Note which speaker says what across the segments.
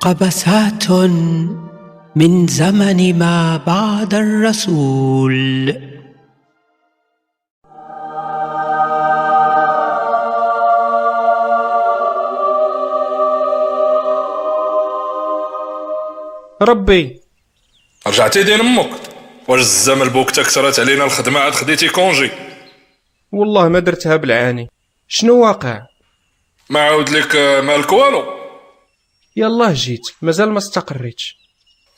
Speaker 1: قبسات من زمن ما بعد الرسول
Speaker 2: ربي
Speaker 3: رجعتي دين امك واش الزمل بوقتها كثرت علينا الخدمه عاد خديتي كونجي
Speaker 2: والله ما درتها بالعاني شنو واقع
Speaker 3: ما عاود لك آه، مالك والو
Speaker 2: يلاه جيت مازال ما استقريتش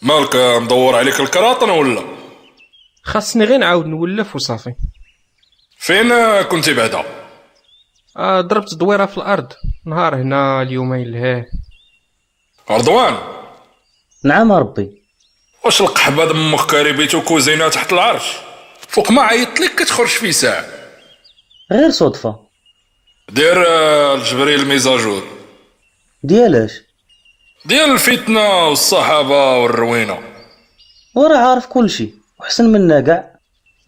Speaker 3: مالك آه، مدور عليك الكراطن ولا
Speaker 2: خاصني غير نعاود نولف وصافي
Speaker 3: فين آه، كنتي بعدا
Speaker 2: آه ضربت دويره في الارض نهار هنا اليومين لهيه
Speaker 3: رضوان
Speaker 4: نعم ربي
Speaker 3: واش القحبه دمك كاريبيت وكوزينه تحت العرش فوق ما عيطت لك كتخرج في ساعه
Speaker 4: غير صدفة
Speaker 3: دير آه، الجبري الميزاجور
Speaker 4: ديالاش
Speaker 3: ديال الفتنه والصحابه والروينه
Speaker 4: وراه عارف كل شيء وحسن منا كاع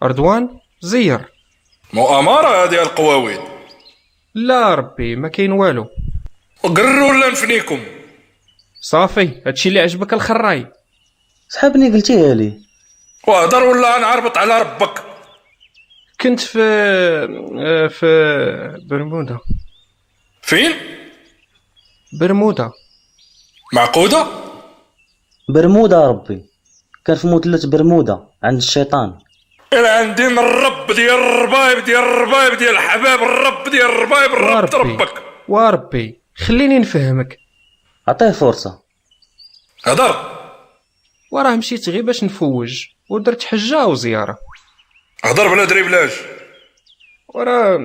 Speaker 2: رضوان زير
Speaker 3: مؤامره ديال القواويد
Speaker 2: لا ربي ما كاين والو
Speaker 3: قرروا ولا نفنيكم
Speaker 2: صافي هادشي اللي عجبك الخراي
Speaker 4: سحابني قلتيها ليه
Speaker 3: وهضر ولا نعربط على ربك
Speaker 2: كنت في آه، في برمودا
Speaker 3: فين
Speaker 2: برمودا
Speaker 3: معقوده
Speaker 4: برمودا ربي كان في مثلة برمودا عند الشيطان
Speaker 3: انا عندي من الرب ديال الربايب ديال الربايب ديال الحباب الرب ديال الربايب الرب ربك
Speaker 2: وربي خليني نفهمك
Speaker 4: عطيه فرصة
Speaker 3: هضر
Speaker 2: وراه مشيت غير باش نفوج ودرت حجة وزيارة
Speaker 3: هضر بلا دريبلاج
Speaker 2: وراه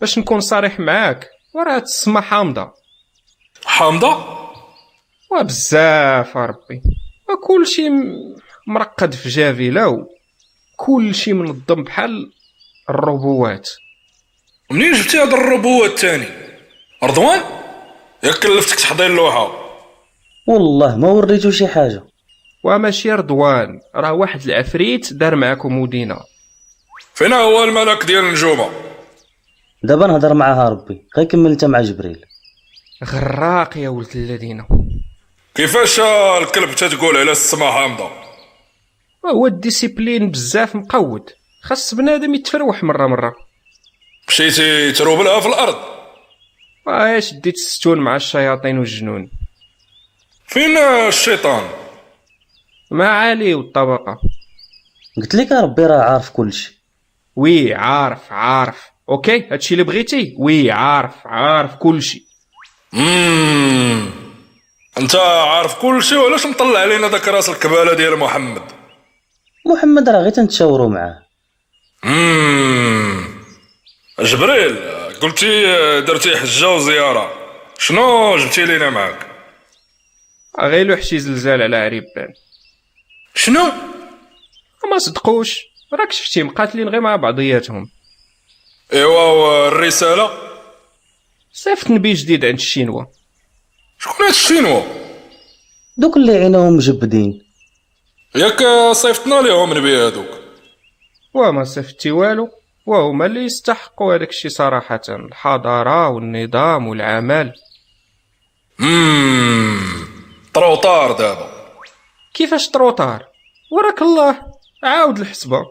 Speaker 2: باش نكون صريح معاك وراه هاد السما حامضة
Speaker 3: حامضه
Speaker 2: وبزاف ربي وكلشي م- مرقد في جافي لو كلشي منظم بحال الربوات
Speaker 3: منين جبتي هاد الربوه الثاني رضوان ياك كلفتك تحضير لوحه
Speaker 4: والله ما وريتو شي حاجة
Speaker 2: وماشي رضوان راه واحد العفريت دار معاكم مدينة
Speaker 3: فين هو الملك ديال النجومه
Speaker 4: دابا نهضر معاها ربي غير كمل انت مع جبريل
Speaker 2: غراق يا ولد الذين
Speaker 3: كيفاش آه، الكلب تتقول على السما حامضه
Speaker 2: هو الديسيبلين بزاف مقود خاص بنادم يتفروح مرة مرة
Speaker 3: مشيتي تروبلها في الارض
Speaker 2: واش ديت الستون مع الشياطين والجنون
Speaker 3: فين آه، الشيطان
Speaker 2: ما عالي والطبقة
Speaker 4: قلت لك ربي راه عارف كل شيء
Speaker 2: وي عارف عارف اوكي هادشي اللي بغيتي وي عارف عارف كلشي
Speaker 3: مم. انت عارف كل شيء وعلاش مطلع علينا داك راس الكباله ديال محمد
Speaker 4: محمد راه غير تنتشاورو معاه
Speaker 3: مم. جبريل قلتي درتي حجه وزياره شنو جبتي لينا معاك
Speaker 2: غيلو حشي زلزال على عريبان
Speaker 3: شنو
Speaker 2: ما صدقوش راك شفتي مقاتلين غير مع بعضياتهم
Speaker 3: ايوا الرساله
Speaker 2: صيفط نبي جديد عند الشينوا
Speaker 3: شكون هاد الشينوا
Speaker 4: دوك اللي عينهم مجبدين
Speaker 3: ياك صيفطنا ليهم نبي هادوك
Speaker 2: وما صيفطتي والو وهما اللي يستحقوا هذاك الشي صراحة الحضارة والنظام والعمل
Speaker 3: مم. طروطار دابا
Speaker 2: كيفاش تروطار وراك الله عاود الحسبة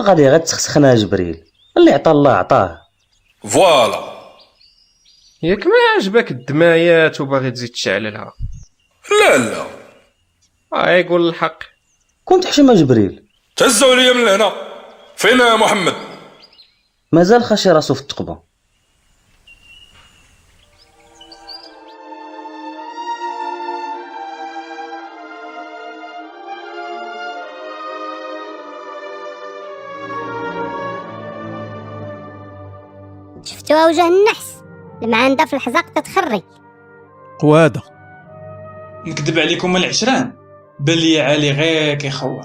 Speaker 4: غادي غير تسخسخنا جبريل اللي عطا الله عطاه
Speaker 3: فوالا
Speaker 2: ياك ما عجبك الدمايات وباغي تزيد تشعللها
Speaker 3: لا لا
Speaker 2: اه يقول الحق
Speaker 4: كنت حشمة جبريل
Speaker 3: تهزوا عليا من هنا فين محمد
Speaker 4: مازال خاشي راسو في التقبة
Speaker 5: شفتوها وجه النحس المعندة في الحزق تتخرج
Speaker 6: قواده
Speaker 7: نكذب عليكم العشران بل يا علي غير كيخور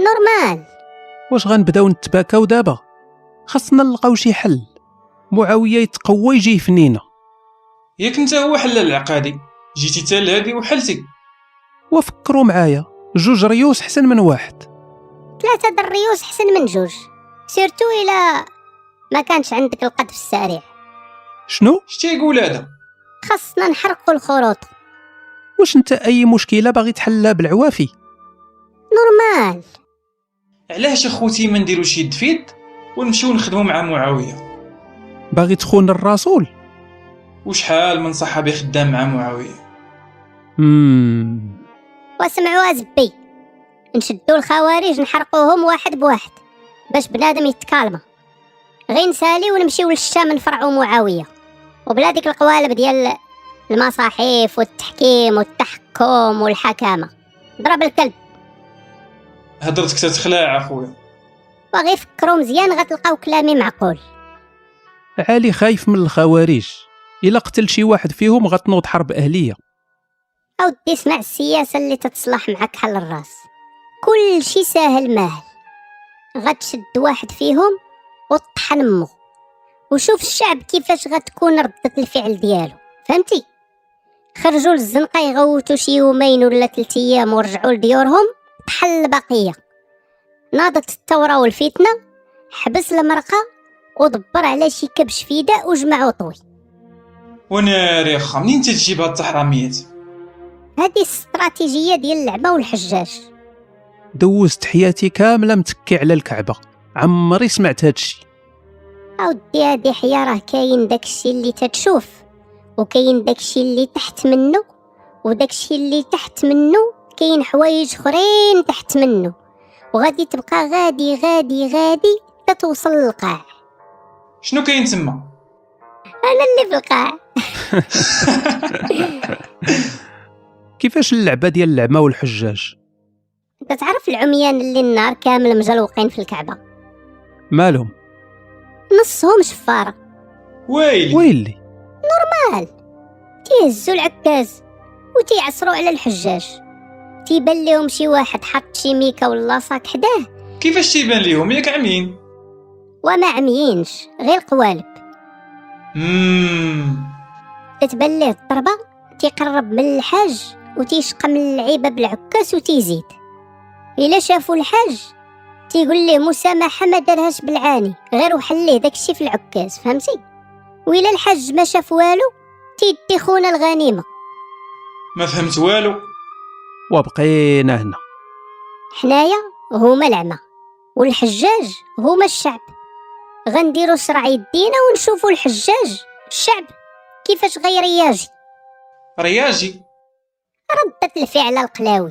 Speaker 5: نورمال
Speaker 6: واش غنبداو نتباكاو دابا خاصنا نلقاو شي حل معاويه يتقوى يجي فنينا
Speaker 7: ياك انت هو حلال العقادي جيتي تا لهادي وحلتي
Speaker 6: وفكروا معايا جوج ريوس حسن من واحد
Speaker 5: ثلاثة د الريوس حسن من جوج سيرتو إلا ما كانش عندك القذف السريع
Speaker 6: شنو
Speaker 7: شتي يقول هذا
Speaker 5: خاصنا نحرقوا الخروط
Speaker 6: واش انت اي مشكله باغي تحلها بالعوافي
Speaker 5: نورمال
Speaker 7: علاش اخوتي ما نديروش يد في يد ونمشيو نخدمو مع معاويه
Speaker 6: باغي تخون الرسول
Speaker 7: وشحال من صحابي خدام مع معاويه
Speaker 6: مم.
Speaker 5: واسمعوا زبي نشدو الخوارج نحرقوهم واحد بواحد باش بنادم يتكالما غير نسالي ونمشيو للشام نفرعو معاويه وبلا ديك القوالب ديال المصاحف والتحكيم والتحكم والحكامه ضرب الكلب
Speaker 7: هضرتك تتخلع اخويا
Speaker 5: وغير فكروا مزيان غتلقاو كلامي معقول
Speaker 6: علي خايف من الخوارج الا قتل شي واحد فيهم غتنوض حرب اهليه
Speaker 5: او دي اسمع السياسه اللي تتصلح معك حل الراس كل شي ساهل ماهل غتشد واحد فيهم وطحن امه وشوف الشعب كيفاش غتكون ردة الفعل ديالو فهمتي خرجوا للزنقة يغوتوا شي يومين ولا ثلاث ايام ورجعوا لديورهم طحن البقية ناضت الثورة والفتنة حبس المرقة ودبر على شي كبش فداء وجمعو طوي
Speaker 7: وناري خا منين تتجيب هاد التحراميات
Speaker 5: هذه الاستراتيجية ديال اللعبة والحجاج
Speaker 6: دوزت حياتي كامله متكي على الكعبه عمري سمعت هادشي
Speaker 5: اودي هادي حيا راه كاين داكشي اللي تتشوف وكاين داكشي اللي تحت منه وداكشي اللي تحت منه كاين حوايج اخرين تحت منه وغادي تبقى غادي غادي غادي تتوصل للقاع
Speaker 7: شنو كاين تما
Speaker 5: انا اللي في القاع
Speaker 6: كيفاش اللعبه ديال العمى والحجاج
Speaker 5: تتعرف العميان اللي النهار كامل مجلوقين في الكعبه
Speaker 6: مالهم
Speaker 5: نصهم شفاره
Speaker 7: ويلي
Speaker 6: ويلي
Speaker 5: تيهزوا العكاز وتيعصروا على الحجاج تيبان لهم شي واحد حط شي ميكا ولا صاك حداه
Speaker 7: كيفاش تيبان ليهم ياك عمين
Speaker 5: وما عميينش غير القوالب
Speaker 7: مم.
Speaker 5: تتبان ليه الضربة تيقرب من الحاج وتيشقى من اللعيبة بالعكاس وتيزيد إلا شافوا الحاج تيقول ليه مسامحة ما دارهاش بالعاني غير وحليه داكشي في العكاز فهمتي وإلا الحاج ما شاف والو تيدي خونا الغنيمة
Speaker 7: ما فهمت والو
Speaker 6: وبقينا هنا
Speaker 5: حنايا هما العمى والحجاج هما الشعب غنديرو صراع يدينا ونشوفو الحجاج الشعب كيفاش غيرياجي
Speaker 7: رياجي
Speaker 5: ردت الفعل القلاوي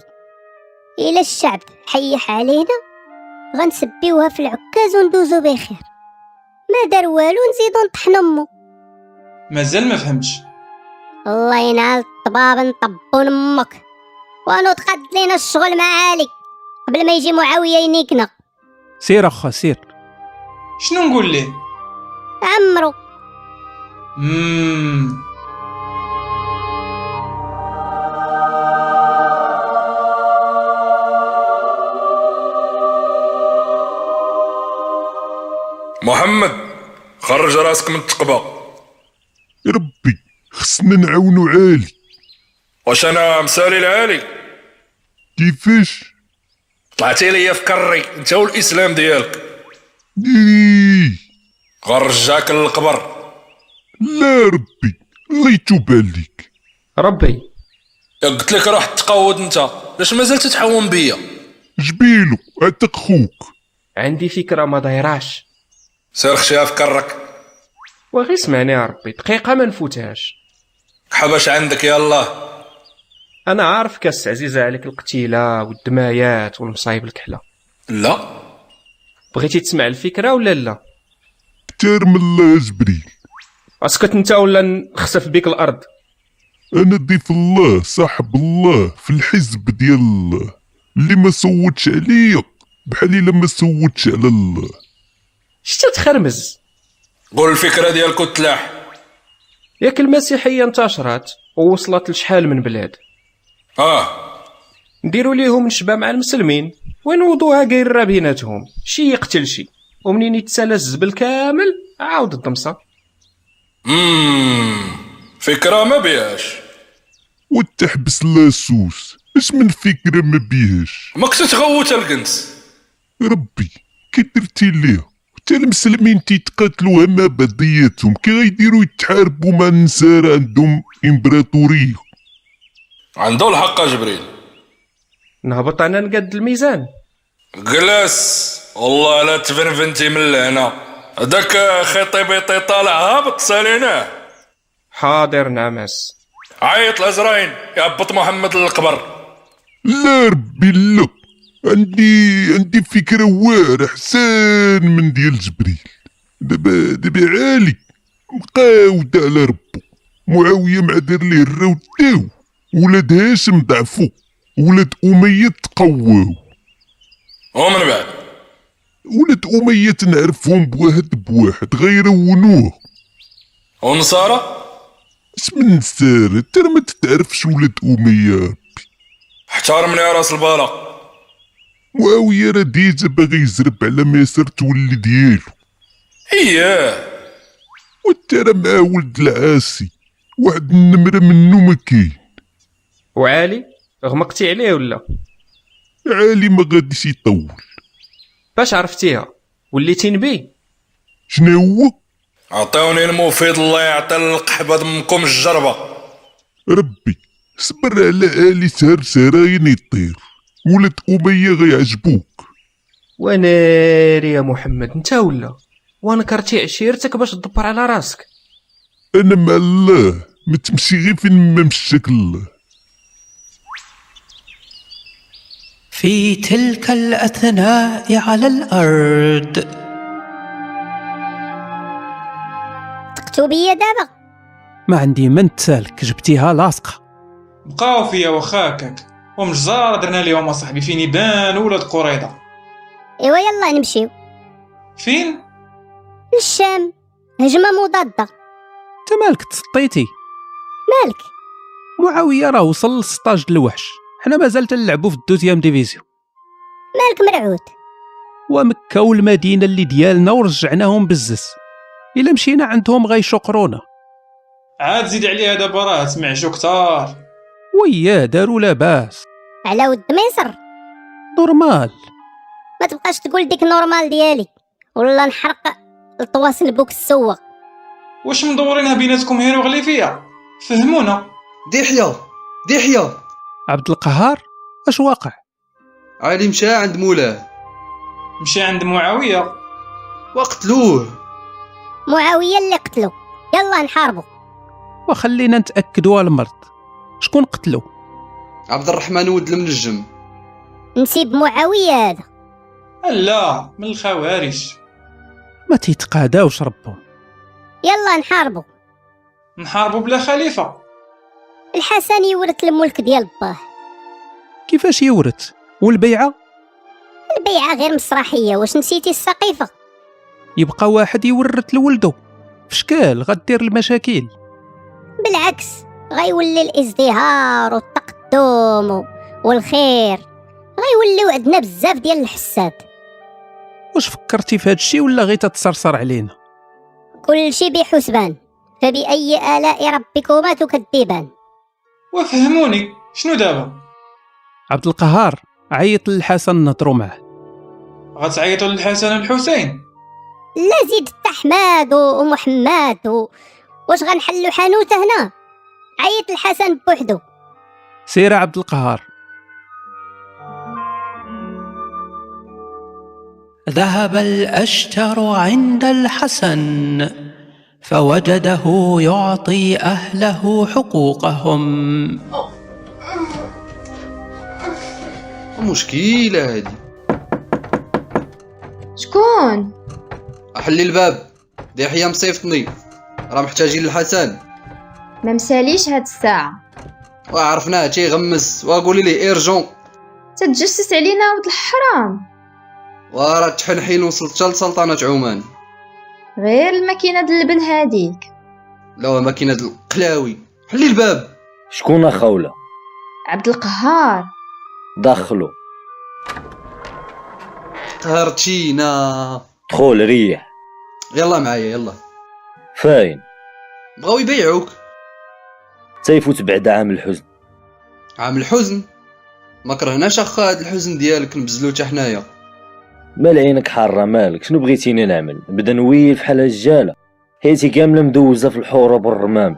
Speaker 5: إلى الشعب حيح علينا غنسبيوها في العكاز وندوزو بخير ما دار والو نزيدو نطحن امو
Speaker 7: مازال ما فهمتش
Speaker 5: الله ينعل الطباب نطبون امك وانو تقد لينا الشغل معالي قبل ما يجي معاوية ينيكنا
Speaker 6: سير اخا سير
Speaker 7: شنو نقول ليه
Speaker 5: عمرو
Speaker 7: مم.
Speaker 3: محمد خرج راسك من التقبه
Speaker 8: ربي خصنا نعاونو عالي
Speaker 3: واش انا مسالي العالي
Speaker 8: كيفاش
Speaker 3: طلعتي ليا في كري انت والاسلام ديالك
Speaker 8: إيه.
Speaker 3: غرجاك للقبر
Speaker 8: لا ربي الله يتوب عليك
Speaker 2: ربي
Speaker 3: يا قلت لك روح تقود انت لاش مازال تتحوم بيا
Speaker 8: جبيلو عتق خوك
Speaker 2: عندي فكرة ما دايراش
Speaker 3: سير خشيها في كرك
Speaker 2: وغي سمعني يا ربي دقيقة ما نفوتهاش
Speaker 3: حبش عندك يلا
Speaker 2: أنا عارف كاس عزيزة عليك القتيلة والدمايات والمصايب الكحلة
Speaker 3: لا
Speaker 2: بغيتي تسمع الفكرة ولا لا
Speaker 8: كتار من الله يا جبريل
Speaker 2: اسكت انت ولا نخسف بك الأرض
Speaker 8: انا ضيف الله صاحب الله في الحزب ديال الله اللي ما صوتش عليا بحال الا ما صوتش على الله
Speaker 2: شتا تخرمز
Speaker 3: قول الفكره ديالك وتلاح
Speaker 2: ياك المسيحية انتشرت ووصلت لشحال من بلاد
Speaker 8: آه.
Speaker 3: اه
Speaker 2: نديروا ليهم نشبه مع المسلمين ونوضوها قايرة بيناتهم شي يقتل شي ومنين يتسالى الزبل كامل عاود الضمسة
Speaker 3: مم. فكره ما بيهاش
Speaker 8: وتحبس لا سوس اش من فكره ما بيهاش
Speaker 3: ما كنت تغوت الكنس
Speaker 8: ربي كي درتي ليها حتى المسلمين تيتقاتلوا هما بعضياتهم كي غيديروا يتحاربوا مع النسارى عندهم امبراطوريه
Speaker 3: عنده الحق جبريل
Speaker 2: نهبط انا نقد الميزان
Speaker 3: جلس والله لا تفنفنتي من لهنا هذاك خيطي بيطي طالع هابط ساليناه
Speaker 2: حاضر نعمس
Speaker 3: عيط لازرين يهبط محمد للقبر
Speaker 8: لا ربي لا عندي عندي فكرة واعرة حسان من ديال جبريل دابا دابا عالي مقاود على ربو معاوية معذر ليه الراو تاو ولاد هاشم ضعفو ولاد أمية تقواو
Speaker 3: ومن بعد
Speaker 8: ولاد أمية نعرفهم بواحد بواحد غيرونوه
Speaker 3: ونصارى
Speaker 8: اش من نسار تا ما تتعرفش ولاد أمية
Speaker 3: احترمني يا راس البالا
Speaker 8: معاوية راه ديجا باغي يزرب على مصر تولي ديالو
Speaker 3: اييه
Speaker 8: وانت راه مع ولد العاسي واحد النمرة منو ما كاين
Speaker 2: وعالي غمقتي عليه ولا
Speaker 8: عالي ما غاديش يطول
Speaker 2: باش عرفتيها وليتي نبي
Speaker 8: شنو هو
Speaker 3: عطيوني المفيد الله يعطي القحبه دمكم الجربه
Speaker 8: ربي صبر على آلي سهر سراين يطير ولد أمية غيعجبوك
Speaker 2: وناري يا محمد انت ولا ونكرتي عشيرتك باش تدبر على راسك
Speaker 8: أنا مع الله ما تمشي غير فين ما مشاك الله
Speaker 1: في تلك الأثناء على الأرض
Speaker 5: تقتو بيا دابا
Speaker 6: ما عندي من تسالك جبتيها لاصقه
Speaker 7: بقاو فيا وخاكك ومجزارة درنا اليوم اصاحبي فين يبان ولاد قريضة
Speaker 5: ايوا يلا نمشيو
Speaker 7: فين
Speaker 5: للشام هجمة مضادة
Speaker 6: انت مالك تسطيتي
Speaker 5: مالك
Speaker 6: معاويه راه وصل للسطاج الوحش حنا مازال تنلعبوا في الدوزيام ديفيزيون
Speaker 5: مالك مرعود
Speaker 6: ومكه والمدينه اللي ديالنا ورجعناهم بالزز الا مشينا عندهم غيشقرونا
Speaker 7: عاد زيد عليها دابا راه سمعشو كتار
Speaker 6: وياه داروا لاباس
Speaker 5: على ود ميسر
Speaker 6: نورمال
Speaker 5: ما تبقاش تقول ديك نورمال ديالي ولا نحرق الطواسن بوك السوق
Speaker 7: واش مدورينها بيناتكم هيروغليفية فهمونا
Speaker 9: دحية دحية
Speaker 6: عبد القهار اش واقع
Speaker 9: علي مشى عند مولاه
Speaker 7: مشى عند معاوية
Speaker 9: وقتلوه
Speaker 5: معاوية اللي قتلو يلا نحاربو
Speaker 6: وخلينا نتاكدوا المرض شكون قتلو
Speaker 9: عبد الرحمن ولد المنجم
Speaker 5: نسيب معاوية هذا
Speaker 7: لا من الخوارج
Speaker 6: ما تيتقاداوش ربهم
Speaker 5: يلا نحاربو
Speaker 7: نحاربوا بلا خليفة
Speaker 5: الحسن يورث الملك ديال باه
Speaker 6: كيفاش يورث والبيعه
Speaker 5: البيعة غير مسرحية واش نسيتي السقيفة
Speaker 6: يبقى واحد يورث لولده فشكال غدير المشاكل
Speaker 5: بالعكس غيولي الازدهار والتقدم و- والخير غيوليو عندنا بزاف ديال الحساد
Speaker 6: واش فكرتي في هادشي ولا غير تتسرسر علينا
Speaker 5: كلشي بحسبان فبأي آلاء ربكما تكذبان
Speaker 7: وفهموني شنو دابا
Speaker 6: عبد القهار عيط للحسن نهضروا معاه
Speaker 7: غتعيطوا للحسن والحسين
Speaker 5: لا زيد حتى حماد و- ومحمد و... واش غنحلو حانوته هنا عيط الحسن بوحدو
Speaker 6: سير عبد القهار
Speaker 1: ذهب الأشتر عند الحسن فوجده يعطي أهله حقوقهم
Speaker 9: مشكلة هادي
Speaker 10: شكون
Speaker 9: أحلي الباب دحية مصيفطني راه محتاجين الحسن
Speaker 10: ما مساليش هاد الساعه
Speaker 9: وعرفناه تيغمس وقولي ليه ايرجون
Speaker 10: تتجسس علينا ولد الحرام
Speaker 9: وراه تحنحين وصلت لسلطنة عمان
Speaker 10: غير الماكينه د اللبن هاديك
Speaker 9: لو ماكينة القلاوي حلي الباب
Speaker 4: شكون اخوله
Speaker 10: عبد القهار
Speaker 4: دخلوا
Speaker 9: قهرتينا
Speaker 4: دخول ريح
Speaker 9: يلا معايا يلا
Speaker 4: فاين
Speaker 9: بغاو يبيعوك
Speaker 4: تيفوت بعد عام الحزن
Speaker 9: عام الحزن ما كرهناش اخا هاد الحزن ديالك نبزلو حتى حنايا
Speaker 4: مال عينك حاره مالك شنو بغيتيني نعمل نبدا نويل فحال هالجاله حياتي كامله مدوزه في الحروب والرمام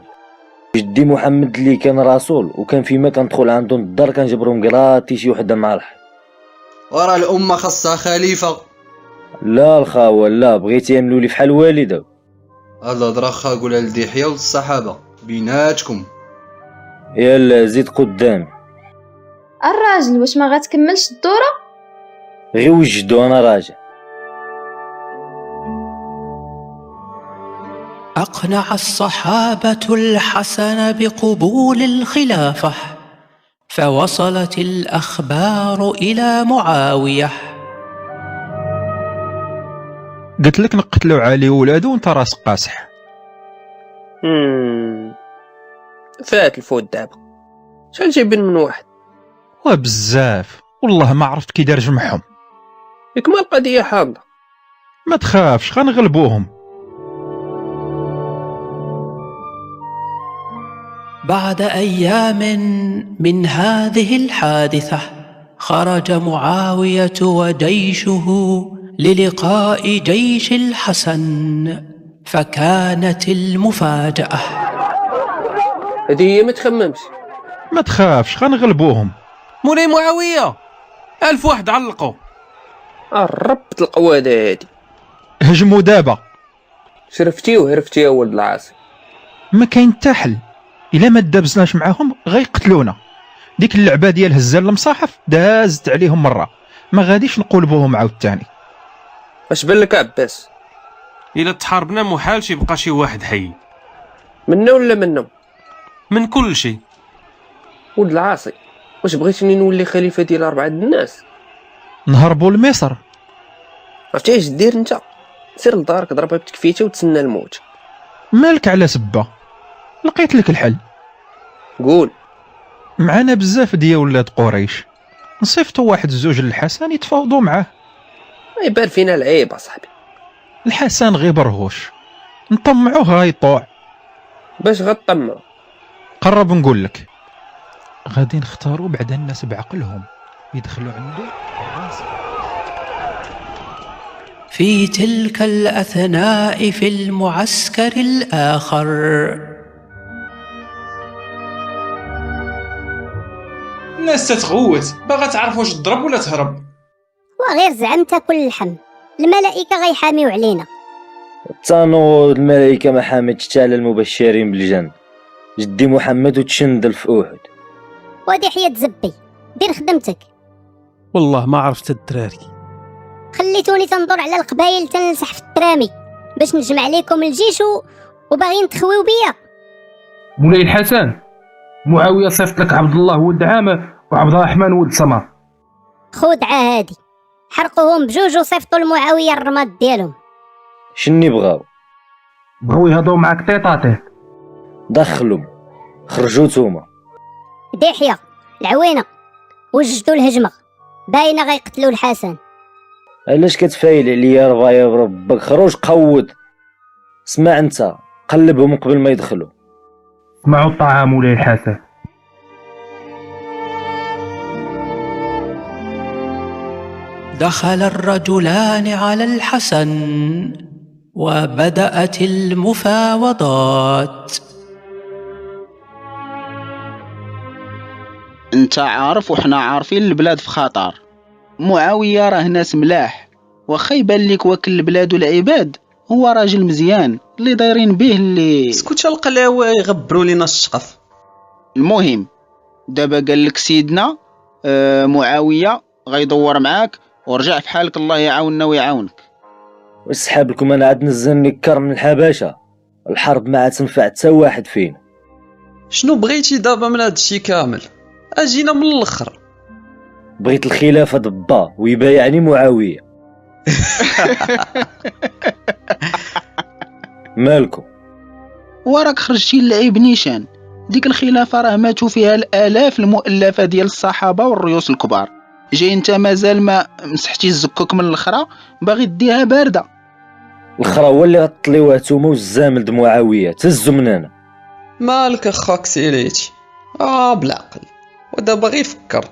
Speaker 11: جدي محمد اللي كان رسول وكان فيما كندخل عندهم الدار كنجبرهم كراتي شي وحده مع الحق
Speaker 9: وراه الامه خاصها خليفه
Speaker 11: لا الخاوه لا بغيت يعملوا لي فحال والده
Speaker 9: هاد الهضره خا قولها لذي حيا والصحابه بيناتكم
Speaker 11: يلا زيد قدامي
Speaker 10: الراجل واش ما غتكملش الدوره
Speaker 11: غير وجدو وانا راجع
Speaker 1: اقنع الصحابه الحسن بقبول الخلافه فوصلت الاخبار الى معاويه
Speaker 12: قلت لك نقتلوا علي وولادو وانت راس قاصح
Speaker 13: مم. فات الفوت دابا شحال جايبين من واحد
Speaker 12: وبزاف والله ما عرفت كي دار جمعهم
Speaker 13: ياك ما القضيه حاضره
Speaker 12: ما تخافش غنغلبوهم
Speaker 1: بعد ايام من هذه الحادثه خرج معاويه وجيشه للقاء جيش الحسن فكانت المفاجاه
Speaker 13: هذه هي ما تخممش
Speaker 12: ما تخافش غنغلبوهم
Speaker 13: مولاي معاويه الف واحد علقوا الربط القواده هادي
Speaker 12: هجموا دابا
Speaker 13: شرفتي وهرفتي يا ولد العاصي
Speaker 12: ما كاين حتى حل الا ما دابزناش معاهم غيقتلونا ديك اللعبه ديال هزال المصاحف دازت عليهم مره ما غاديش نقلبوهم عاوتاني
Speaker 13: اش بان لك عباس
Speaker 14: الا تحاربنا محال شي يبقى شي واحد حي
Speaker 13: منا ولا منهم
Speaker 14: من كل شيء
Speaker 13: ولد العاصي واش بغيتني نولي خليفه ديال اربعه د الناس
Speaker 12: نهربوا لمصر
Speaker 13: عرفتي اش دير انت سير لدارك ضربها بتكفيته وتسنى الموت
Speaker 12: مالك على سبه لقيت لك الحل
Speaker 13: قول
Speaker 12: معانا بزاف ديال ولاد قريش نصيفطوا واحد الزوج للحسن يتفاوضوا معاه
Speaker 13: ما يبان فينا العيب اصاحبي
Speaker 12: الحسن غير برهوش نطمعوه غيطوع
Speaker 13: باش غطمع
Speaker 12: قرب نقول لك غادي نختاروا بعد الناس بعقلهم يدخلوا عنده
Speaker 1: في تلك الاثناء في المعسكر الاخر
Speaker 7: الناس تتغوت باغا تعرف واش تضرب ولا تهرب
Speaker 5: وغير زعم تاكل اللحم الملائكه غيحاميو علينا
Speaker 11: تانو الملائكه ما حامدش حتى على المبشرين بالجنه جدي محمد وتشندل في احد
Speaker 5: ودي حياة زبي دير خدمتك
Speaker 6: والله ما عرفت الدراري
Speaker 5: خليتوني تندور على القبايل تنلسح في الترامي باش نجمع ليكم الجيش و... وباغيين تخويو بيا
Speaker 15: مولاي الحسن معاويه صيفط لك عبد الله ولد عامر وعبد الرحمن ولد سمر
Speaker 5: خدعة هادي حرقوهم بجوج وصيفطوا لمعاوية الرماد ديالهم
Speaker 11: شني بغاو
Speaker 15: بغاو يهضروا معاك طيطاتي
Speaker 11: دخلهم خرجوا توما
Speaker 5: ديحية العوينة وجدوا الهجمة باينة غيقتلوا الحسن
Speaker 11: علاش كتفايل عليا ربايا بربك خرج قود اسمع انت قلبهم قبل ما يدخلوا
Speaker 15: اسمعوا الطاعه مولاي الحسن
Speaker 1: دخل الرجلان على الحسن وبدات المفاوضات
Speaker 16: انت عارف وحنا عارفين البلاد في خطر معاوية راه ناس ملاح واخا يبان لك واكل البلاد والعباد هو راجل مزيان اللي دايرين به اللي
Speaker 17: سكوت القلاوة يغبروا لينا الشقف
Speaker 16: المهم دابا قال لك سيدنا آه معاوية غيدور معاك ورجع في حالك الله يعاوننا ويعاونك
Speaker 11: واش سحاب لكم انا عاد نزلني كرم من الحبشه الحرب ما عاد تنفع حتى واحد فينا
Speaker 17: شنو بغيتي دابا من هاد الشي كامل اجينا من الاخر
Speaker 11: بغيت الخلافه ضبا ويبايعني معاويه مالكم
Speaker 16: وراك خرجتي للعيب نيشان ديك الخلافة راه ماتوا فيها الآلاف المؤلفة ديال الصحابة والريوس الكبار جاي انت مازال ما مسحتي الزكوك من الاخرى باغي ديها باردة
Speaker 11: الخرا هو اللي غطليوه نتوما والزامل د معاويه تهزو من هنا
Speaker 17: مالك اخاك سيريتي اه بالعقل ودابا غير فكر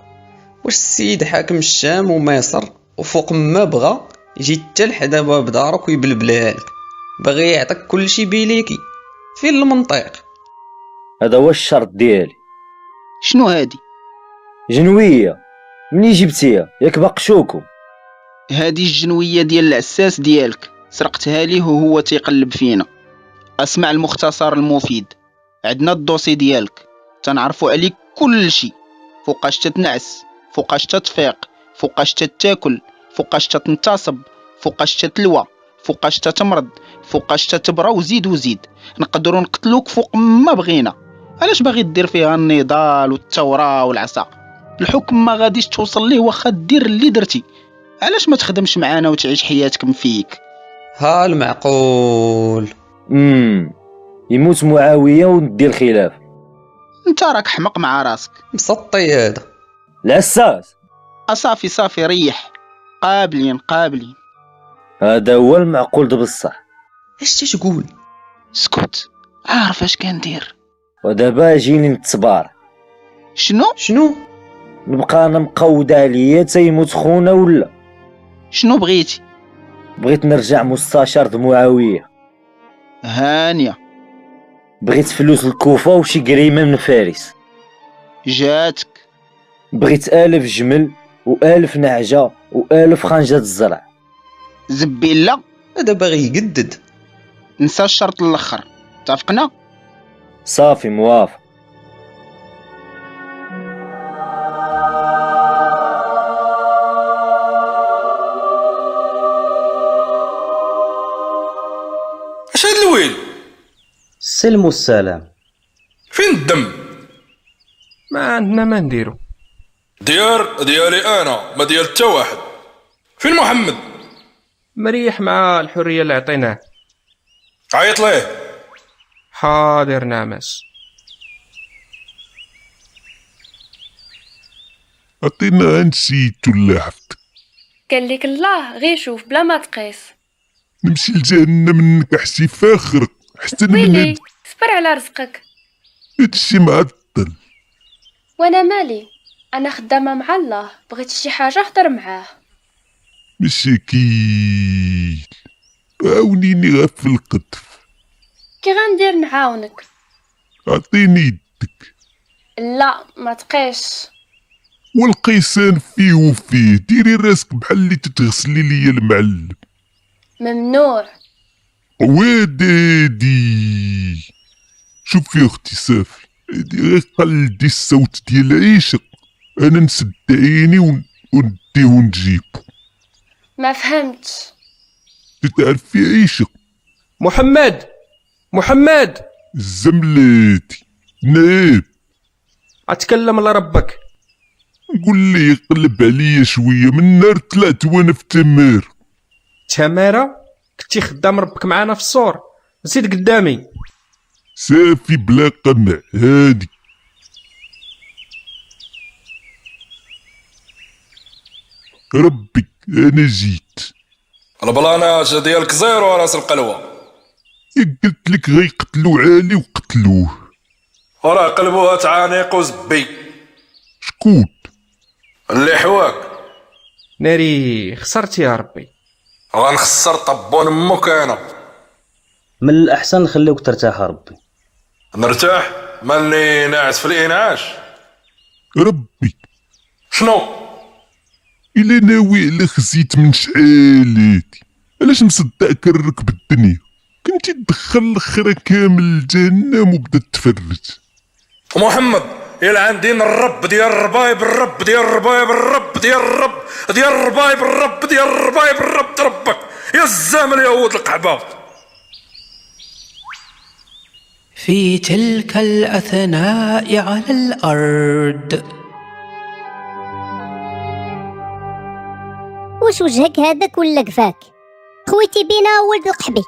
Speaker 17: واش السيد حاكم الشام ومصر وفوق ما بغى يجي حتى لحد باب دارك ويبلبلها لك باغي يعطيك كلشي بيليكي فين المنطق
Speaker 11: هذا هو الشرط ديالي
Speaker 16: شنو هادي
Speaker 11: جنويه مني جبتيها ياك بقشوكم
Speaker 16: هادي الجنوية ديال العساس ديالك سرقتها ليه وهو تيقلب فينا اسمع المختصر المفيد عندنا الدوسي ديالك تنعرفوا عليك كل شيء فوقاش تتنعس فوقاش تتفيق فوقاش تتاكل فوقاش تتنتصب فوقاش تتلوى فوقاش تتمرض فوقاش تتبرى وزيد وزيد نقدروا نقتلوك فوق ما بغينا علاش باغي دير فيها النضال والثوره والعصا الحكم ما غاديش توصل ليه واخا دير اللي درتي علاش ما تخدمش معانا وتعيش حياتك مفيك
Speaker 17: ها المعقول
Speaker 11: امم يموت معاويه وندي الخلاف
Speaker 16: انت راك حمق مع راسك
Speaker 17: مسطي هذا
Speaker 11: العساس
Speaker 16: اصافي آه، صافي ريح قابلين قابلين
Speaker 11: هذا هو المعقول ده بصح
Speaker 17: اش تقول
Speaker 16: اسكت عارف اش كندير
Speaker 11: ودابا جيني نتبار
Speaker 16: شنو
Speaker 17: شنو
Speaker 11: نبقى انا مقودة عليا تا يموت خونا ولا
Speaker 16: شنو بغيتي
Speaker 11: بغيت نرجع مستشار د معاويه
Speaker 16: هانيه
Speaker 11: بغيت فلوس الكوفه وشي جريمه من فارس
Speaker 16: جاتك
Speaker 11: بغيت الف جمل والف نعجه والف خنجه الزرع
Speaker 16: زبيلة
Speaker 17: هذا باغي يجدد
Speaker 16: نسى الشرط الاخر اتفقنا
Speaker 11: صافي موافق
Speaker 3: اش هاد الويل
Speaker 4: السلم والسلام
Speaker 3: فين الدم
Speaker 2: ما عندنا ما نديرو
Speaker 3: ديار ديالي انا ما ديال حتى واحد فين محمد
Speaker 2: مريح مع الحريه اللي عطيناه
Speaker 3: عيط ليه
Speaker 2: حاضر نعمس
Speaker 8: عطينا نسيتو لاحظتك
Speaker 18: قال لك الله غير شوف بلا ما تقيس
Speaker 8: نمشي لجهنم انك حسي فاخرك حسن من
Speaker 18: ويلي
Speaker 8: هاد-
Speaker 18: صبر على رزقك
Speaker 8: هادشي معطل
Speaker 18: وانا مالي انا خدامه مع الله بغيت شي حاجه هضر معاه
Speaker 8: مساكين عاونيني غا في القطف
Speaker 18: كي غندير نعاونك
Speaker 8: عطيني يد.
Speaker 18: لا ما تقيش
Speaker 8: والقيسان فيه وفيه ديري راسك بحال اللي تتغسلي ليا المعلم
Speaker 18: ممنوع
Speaker 8: وادادي شوفي يا اختي صافي هادي غير قلدي الصوت ديال العيشق انا نسد عيني ون- ونديه ونجيب
Speaker 18: ما فهمتش
Speaker 8: تتعرفي عيشق
Speaker 2: محمد محمد
Speaker 8: الزملاتي نعم
Speaker 2: اتكلم لربك
Speaker 8: قول لي يقلب عليا شويه من نهار طلعت وانا في تمار
Speaker 2: تمارة كنتي خدام ربك معانا في الصور نسيت قدامي
Speaker 8: صافي بلا قمع هادي ربي انا جيت
Speaker 3: البلانات ديالك زيرو راس القلوه
Speaker 8: قلت لك غيقتلو عالي وقتلوه
Speaker 3: وراه قلبوها تعانيق وزبي
Speaker 8: شكون
Speaker 3: اللي حواك
Speaker 2: ناري خسرتي يا ربي
Speaker 3: غنخسر طبون امك انا
Speaker 4: من الاحسن نخليوك ترتاح ربي
Speaker 3: نرتاح ماني ناعس في الانعاش
Speaker 8: ربي
Speaker 3: شنو
Speaker 8: الا ناوي على خزيت من شعالاتي علاش مصدع كرك بالدنيا كنتي تدخل الخرا كامل لجهنم وبدا تفرج
Speaker 3: محمد يلعن دين الرب ديال الربايب الرب ديال الربايب الرب ديال الرب ديال الربايب الرب ديال الربايب الرب ربك يا الزامل يا ولد القحبه
Speaker 1: في تلك الاثناء على الارض
Speaker 5: واش وجهك هذاك ولا كفاك خويتي بينا ولد القحبي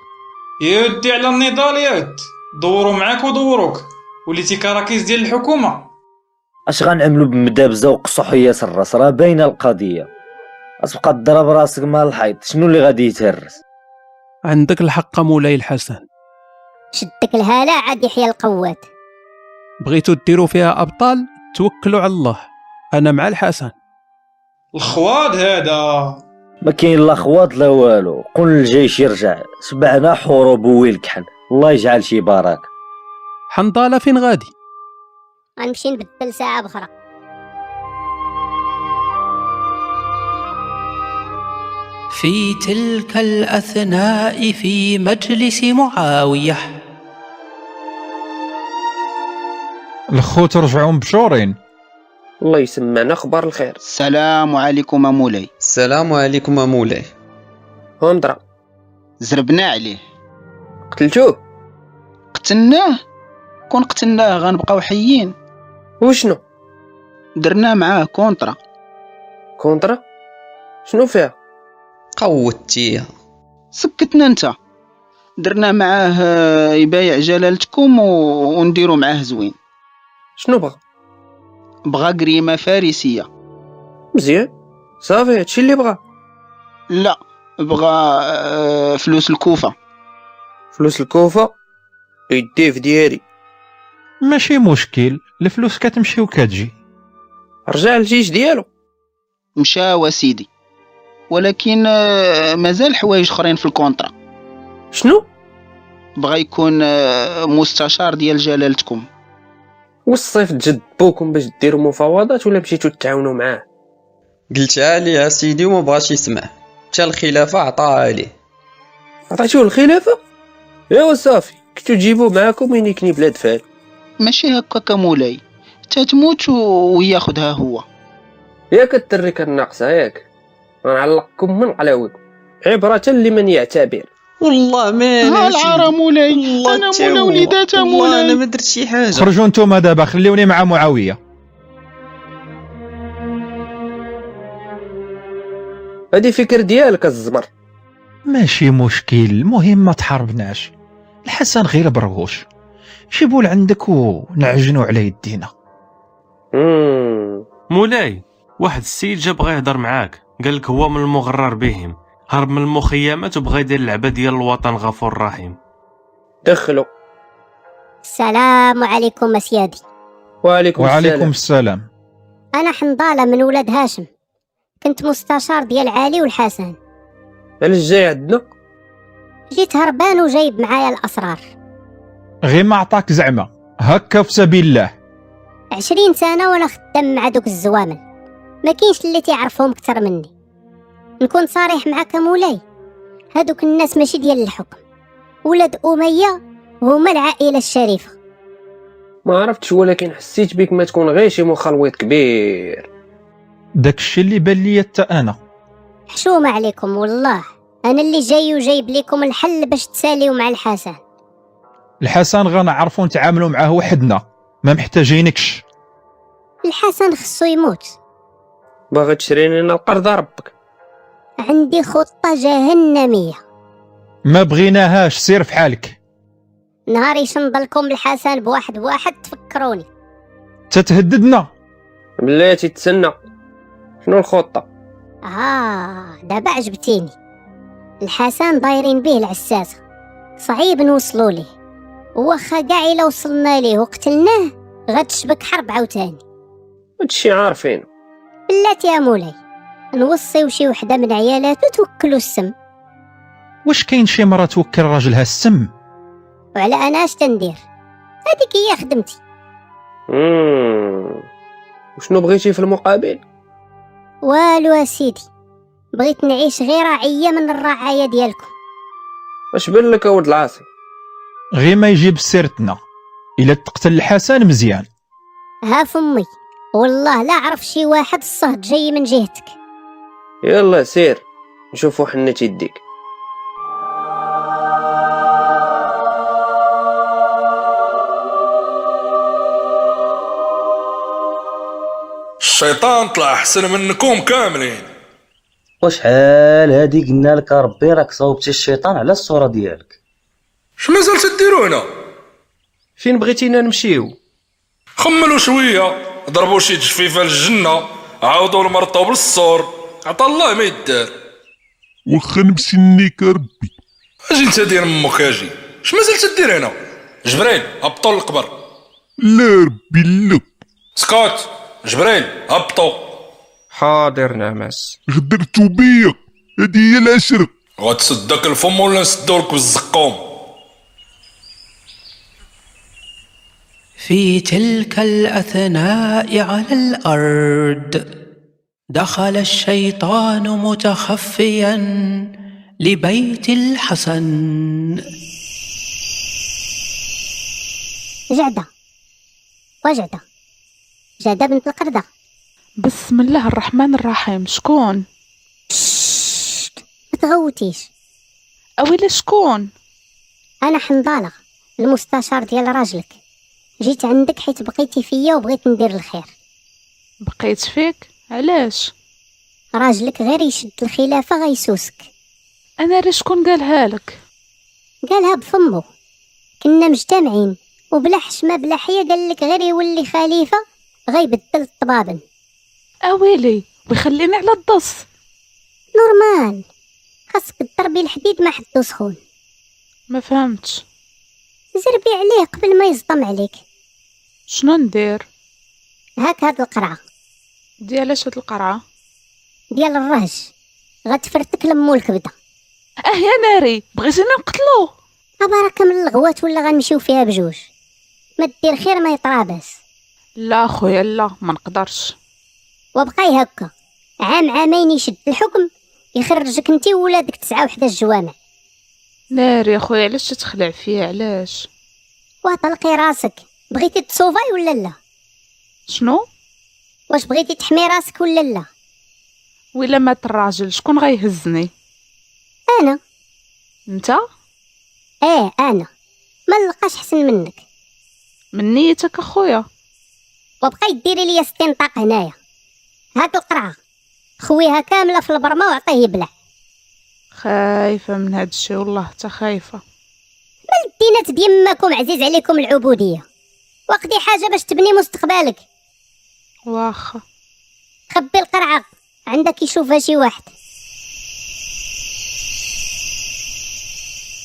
Speaker 7: يودي على النضال ياك دوروا معاك ودوروك وليتي كراكيس ديال الحكومه
Speaker 11: اش غنعملو بمدابزه وقصحيه الراس راه باينه القضيه غتبقى تضرب راسك مع الحيط شنو اللي غادي يتهرس
Speaker 6: عندك الحق مولاي الحسن
Speaker 5: شدك الهالة عاد يحيى القوات
Speaker 6: بغيتو ديروا فيها ابطال توكلوا على الله انا مع الحسن
Speaker 7: الخواد هذا
Speaker 11: ما كاين لا خواط لا والو قل للجيش يرجع سبعنا حروب ويلكحن الله يجعل شي بارك
Speaker 6: حنظله فين غادي
Speaker 5: غنمشي نبدل ساعة بخرى
Speaker 1: في تلك الأثناء في مجلس معاوية
Speaker 12: الخوت رجعوا مبشورين
Speaker 13: الله يسمعنا اخبار الخير
Speaker 16: السلام عليكم مولاي
Speaker 9: السلام عليكم مولاي
Speaker 13: هندرة
Speaker 16: زربنا عليه
Speaker 13: قتلتوه
Speaker 16: قتلناه كون قتلناه غنبقاو حيين
Speaker 13: وشنو
Speaker 16: درنا معاه كونطرا
Speaker 13: كونطرا شنو فيها
Speaker 9: قوتيها
Speaker 16: سكتنا انت درنا معاه آه، يبايع جلالتكم و- ونديرو معاه زوين
Speaker 13: شنو بغى
Speaker 16: بغى قريمة فارسية
Speaker 13: مزيان صافي هادشي اللي بغى
Speaker 16: لا بغى آه، فلوس الكوفة
Speaker 13: فلوس الكوفة يديه في ديالي
Speaker 12: ماشي مشكل الفلوس كتمشي وكتجي
Speaker 13: رجع للجيش ديالو
Speaker 16: مشى وسيدي ولكن آه، مازال حوايج اخرين في الكونطرا
Speaker 13: شنو
Speaker 16: بغى يكون آه، مستشار ديال جلالتكم
Speaker 13: والصيف جد بوكم باش ديروا مفاوضات ولا مشيتو تعاونوا معاه
Speaker 9: قلتها ليه سيدي وما بغاش يسمع حتى الخلافه عطاها ليه
Speaker 13: عطيتوه الخلافة ايوا صافي كنتو تجيبوه معاكم وين يكني بلاد فال
Speaker 16: ماشي هكاك مولاي تتموت و- وياخدها هو
Speaker 13: ياك الدري كان ناقصة ياك غنعلقكم من قلاوكم عبرة لمن يعتبر
Speaker 9: والله ما
Speaker 16: ها العارة مولاي انا مولا وليداتها
Speaker 9: والله انا ما
Speaker 16: مولاي
Speaker 9: درت شي حاجه
Speaker 12: خرجوا نتوما دابا خليوني مع معاوية
Speaker 13: هادي فكر ديالك الزمر
Speaker 12: ماشي مشكل المهم ما تحاربناش الحسن غير بروش جيبو لعندك ونعجنو على يدينا
Speaker 14: مولاي واحد السيد جا بغا يهضر معاك قال لك هو من المغرر بهم هرب من المخيمات وبغا يدير اللعبه ديال الوطن غفور رحيم
Speaker 13: دخلوا
Speaker 5: السلام عليكم أسيادي
Speaker 13: وعليكم
Speaker 12: وعليكم السلام
Speaker 5: أنا حنظالة من ولاد هاشم كنت مستشار ديال علي والحسن
Speaker 13: علاش جاي عندنا
Speaker 5: جيت هربان وجايب معايا الأسرار
Speaker 12: غير ما عطاك زعمة هكا في سبيل الله
Speaker 5: عشرين سنة وأنا خدام مع دوك الزوامل ما كاينش اللي تيعرفهم كتر مني نكون صريح معاك يا مولاي هادوك الناس ماشي ديال الحكم ولاد أمية هما العائلة الشريفة
Speaker 13: ما عرفتش ولكن حسيت بك ما تكون غير شي مخلوط كبير
Speaker 12: داكشي اللي بان ليا حتى انا
Speaker 5: حشومة عليكم والله أنا اللي جاي وجايب لكم الحل باش تساليو مع الحسن
Speaker 12: الحسن غنعرفو نتعاملو معاه وحدنا ما محتاجينكش
Speaker 5: الحسن خصو يموت
Speaker 13: باغي تشريني انا القرضه ربك
Speaker 5: عندي خطة جهنمية
Speaker 12: ما بغيناهاش سير في حالك
Speaker 5: نهار يشنضلكم الحسن بواحد بواحد تفكروني
Speaker 12: تتهددنا
Speaker 13: بلاتي تسنى شنو الخطه
Speaker 5: آه دابا عجبتيني الحسن دايرين به العساسة صعيب نوصلوا ليه واخا كاع الا وصلنا ليه وقتلناه غتشبك حرب عاوتاني
Speaker 13: هادشي عارفين
Speaker 5: بلاتي يا مولاي نوصيو شي وحده من عيالاتو توكلوا السم
Speaker 12: واش كاين شي مرة توكل راجلها السم
Speaker 5: وعلى انا اش تندير هذيك هي خدمتي
Speaker 13: مم. وشنو بغيتي في المقابل
Speaker 5: والو يا سيدي بغيت نعيش غير رعية من الرعاية ديالكم
Speaker 13: اش بان لك ولد العاصي
Speaker 12: غير ما يجيب سيرتنا الا تقتل الحسن مزيان
Speaker 5: ها فمي والله لا عرف شي واحد الصهد جاي من جهتك
Speaker 13: يلا سير نشوفو حنة يديك
Speaker 3: الشيطان طلع احسن منكم كاملين
Speaker 4: وشحال هادي قلنا لك ربي راك صوبتي الشيطان على الصورة ديالك
Speaker 3: شنو مازال تديرو هنا
Speaker 2: فين بغيتينا نمشيو
Speaker 3: خملوا شويه ضربوا شي جفيفه للجنه عاودوا المرطوب للسور عطا الله ما يدار
Speaker 8: واخا نمسنيك ربي
Speaker 3: اجي انت دير امك اجي شنو مازال تدير هنا جبريل هبطوا للقبر
Speaker 8: لا ربي لا
Speaker 3: سكوت جبريل هبطوا
Speaker 2: حاضر نعماس
Speaker 8: غدرتو بيا هادي هي العشرة
Speaker 3: غتسدك الفم ولا نسدولك بالزقوم
Speaker 1: في تلك الأثناء على الأرض دخل الشيطان متخفيا لبيت الحسن
Speaker 5: جعدة وجعدة جعدة بنت القردة
Speaker 19: بسم الله الرحمن الرحيم شكون
Speaker 5: ما تغوتيش
Speaker 19: اويلي شكون
Speaker 5: أنا حنظالة المستشار ديال راجلك جيت عندك حيت بقيتي فيا وبغيت ندير الخير
Speaker 19: بقيت فيك علاش
Speaker 5: راجلك غير يشد الخلافة غيسوسك
Speaker 19: انا راه شكون قالها لك
Speaker 5: قالها بفمو كنا مجتمعين وبلا حشمة بلا حية قالك غير يولي خليفة غيبدل الطبابن
Speaker 19: اويلي ويخليني على الدص
Speaker 5: نورمال خاصك تضربي الحديد ما حدو سخون
Speaker 19: ما فهمتش
Speaker 5: زربي عليه قبل ما يصدم عليك
Speaker 19: شنو ندير
Speaker 5: هاك هاد القرعة
Speaker 19: ديالاش هاد القرعه
Speaker 5: ديال الرهج غتفرتك لمو الكبدة
Speaker 19: اه يا ناري بغيتيني نقتلوه
Speaker 5: أبارك من الغوات ولا غنمشيو فيها بجوج ما دير خير ما يطرابس
Speaker 19: لا خويا لا ما نقدرش
Speaker 5: وبقاي هكا عام عامين يشد الحكم يخرجك انتي وولادك تسعة وحدة الجوامع
Speaker 19: ناري خويا علاش تتخلع فيا علاش
Speaker 5: وطلقي راسك بغيتي تصوفاي ولا لا
Speaker 19: شنو
Speaker 5: واش بغيتي تحمي راسك ولا لا
Speaker 19: ولا مات الراجل شكون غيهزني
Speaker 5: انا
Speaker 19: انت
Speaker 5: ايه انا ما نلقاش حسن منك
Speaker 19: من نيتك اخويا
Speaker 5: وبقاي ديري ليا استنطاق هنايا هاك القرعه خويها كامله في البرمه وعطيه يبلع
Speaker 19: خايفه من هاد الشي والله حتى خايفه
Speaker 5: من الدينات ديماكم عزيز عليكم العبوديه وقدي حاجه باش تبني مستقبلك
Speaker 19: واخا
Speaker 5: خبي القرعه عندك يشوفها شي واحد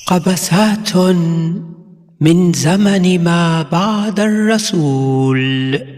Speaker 1: قبسات من زمن ما بعد الرسول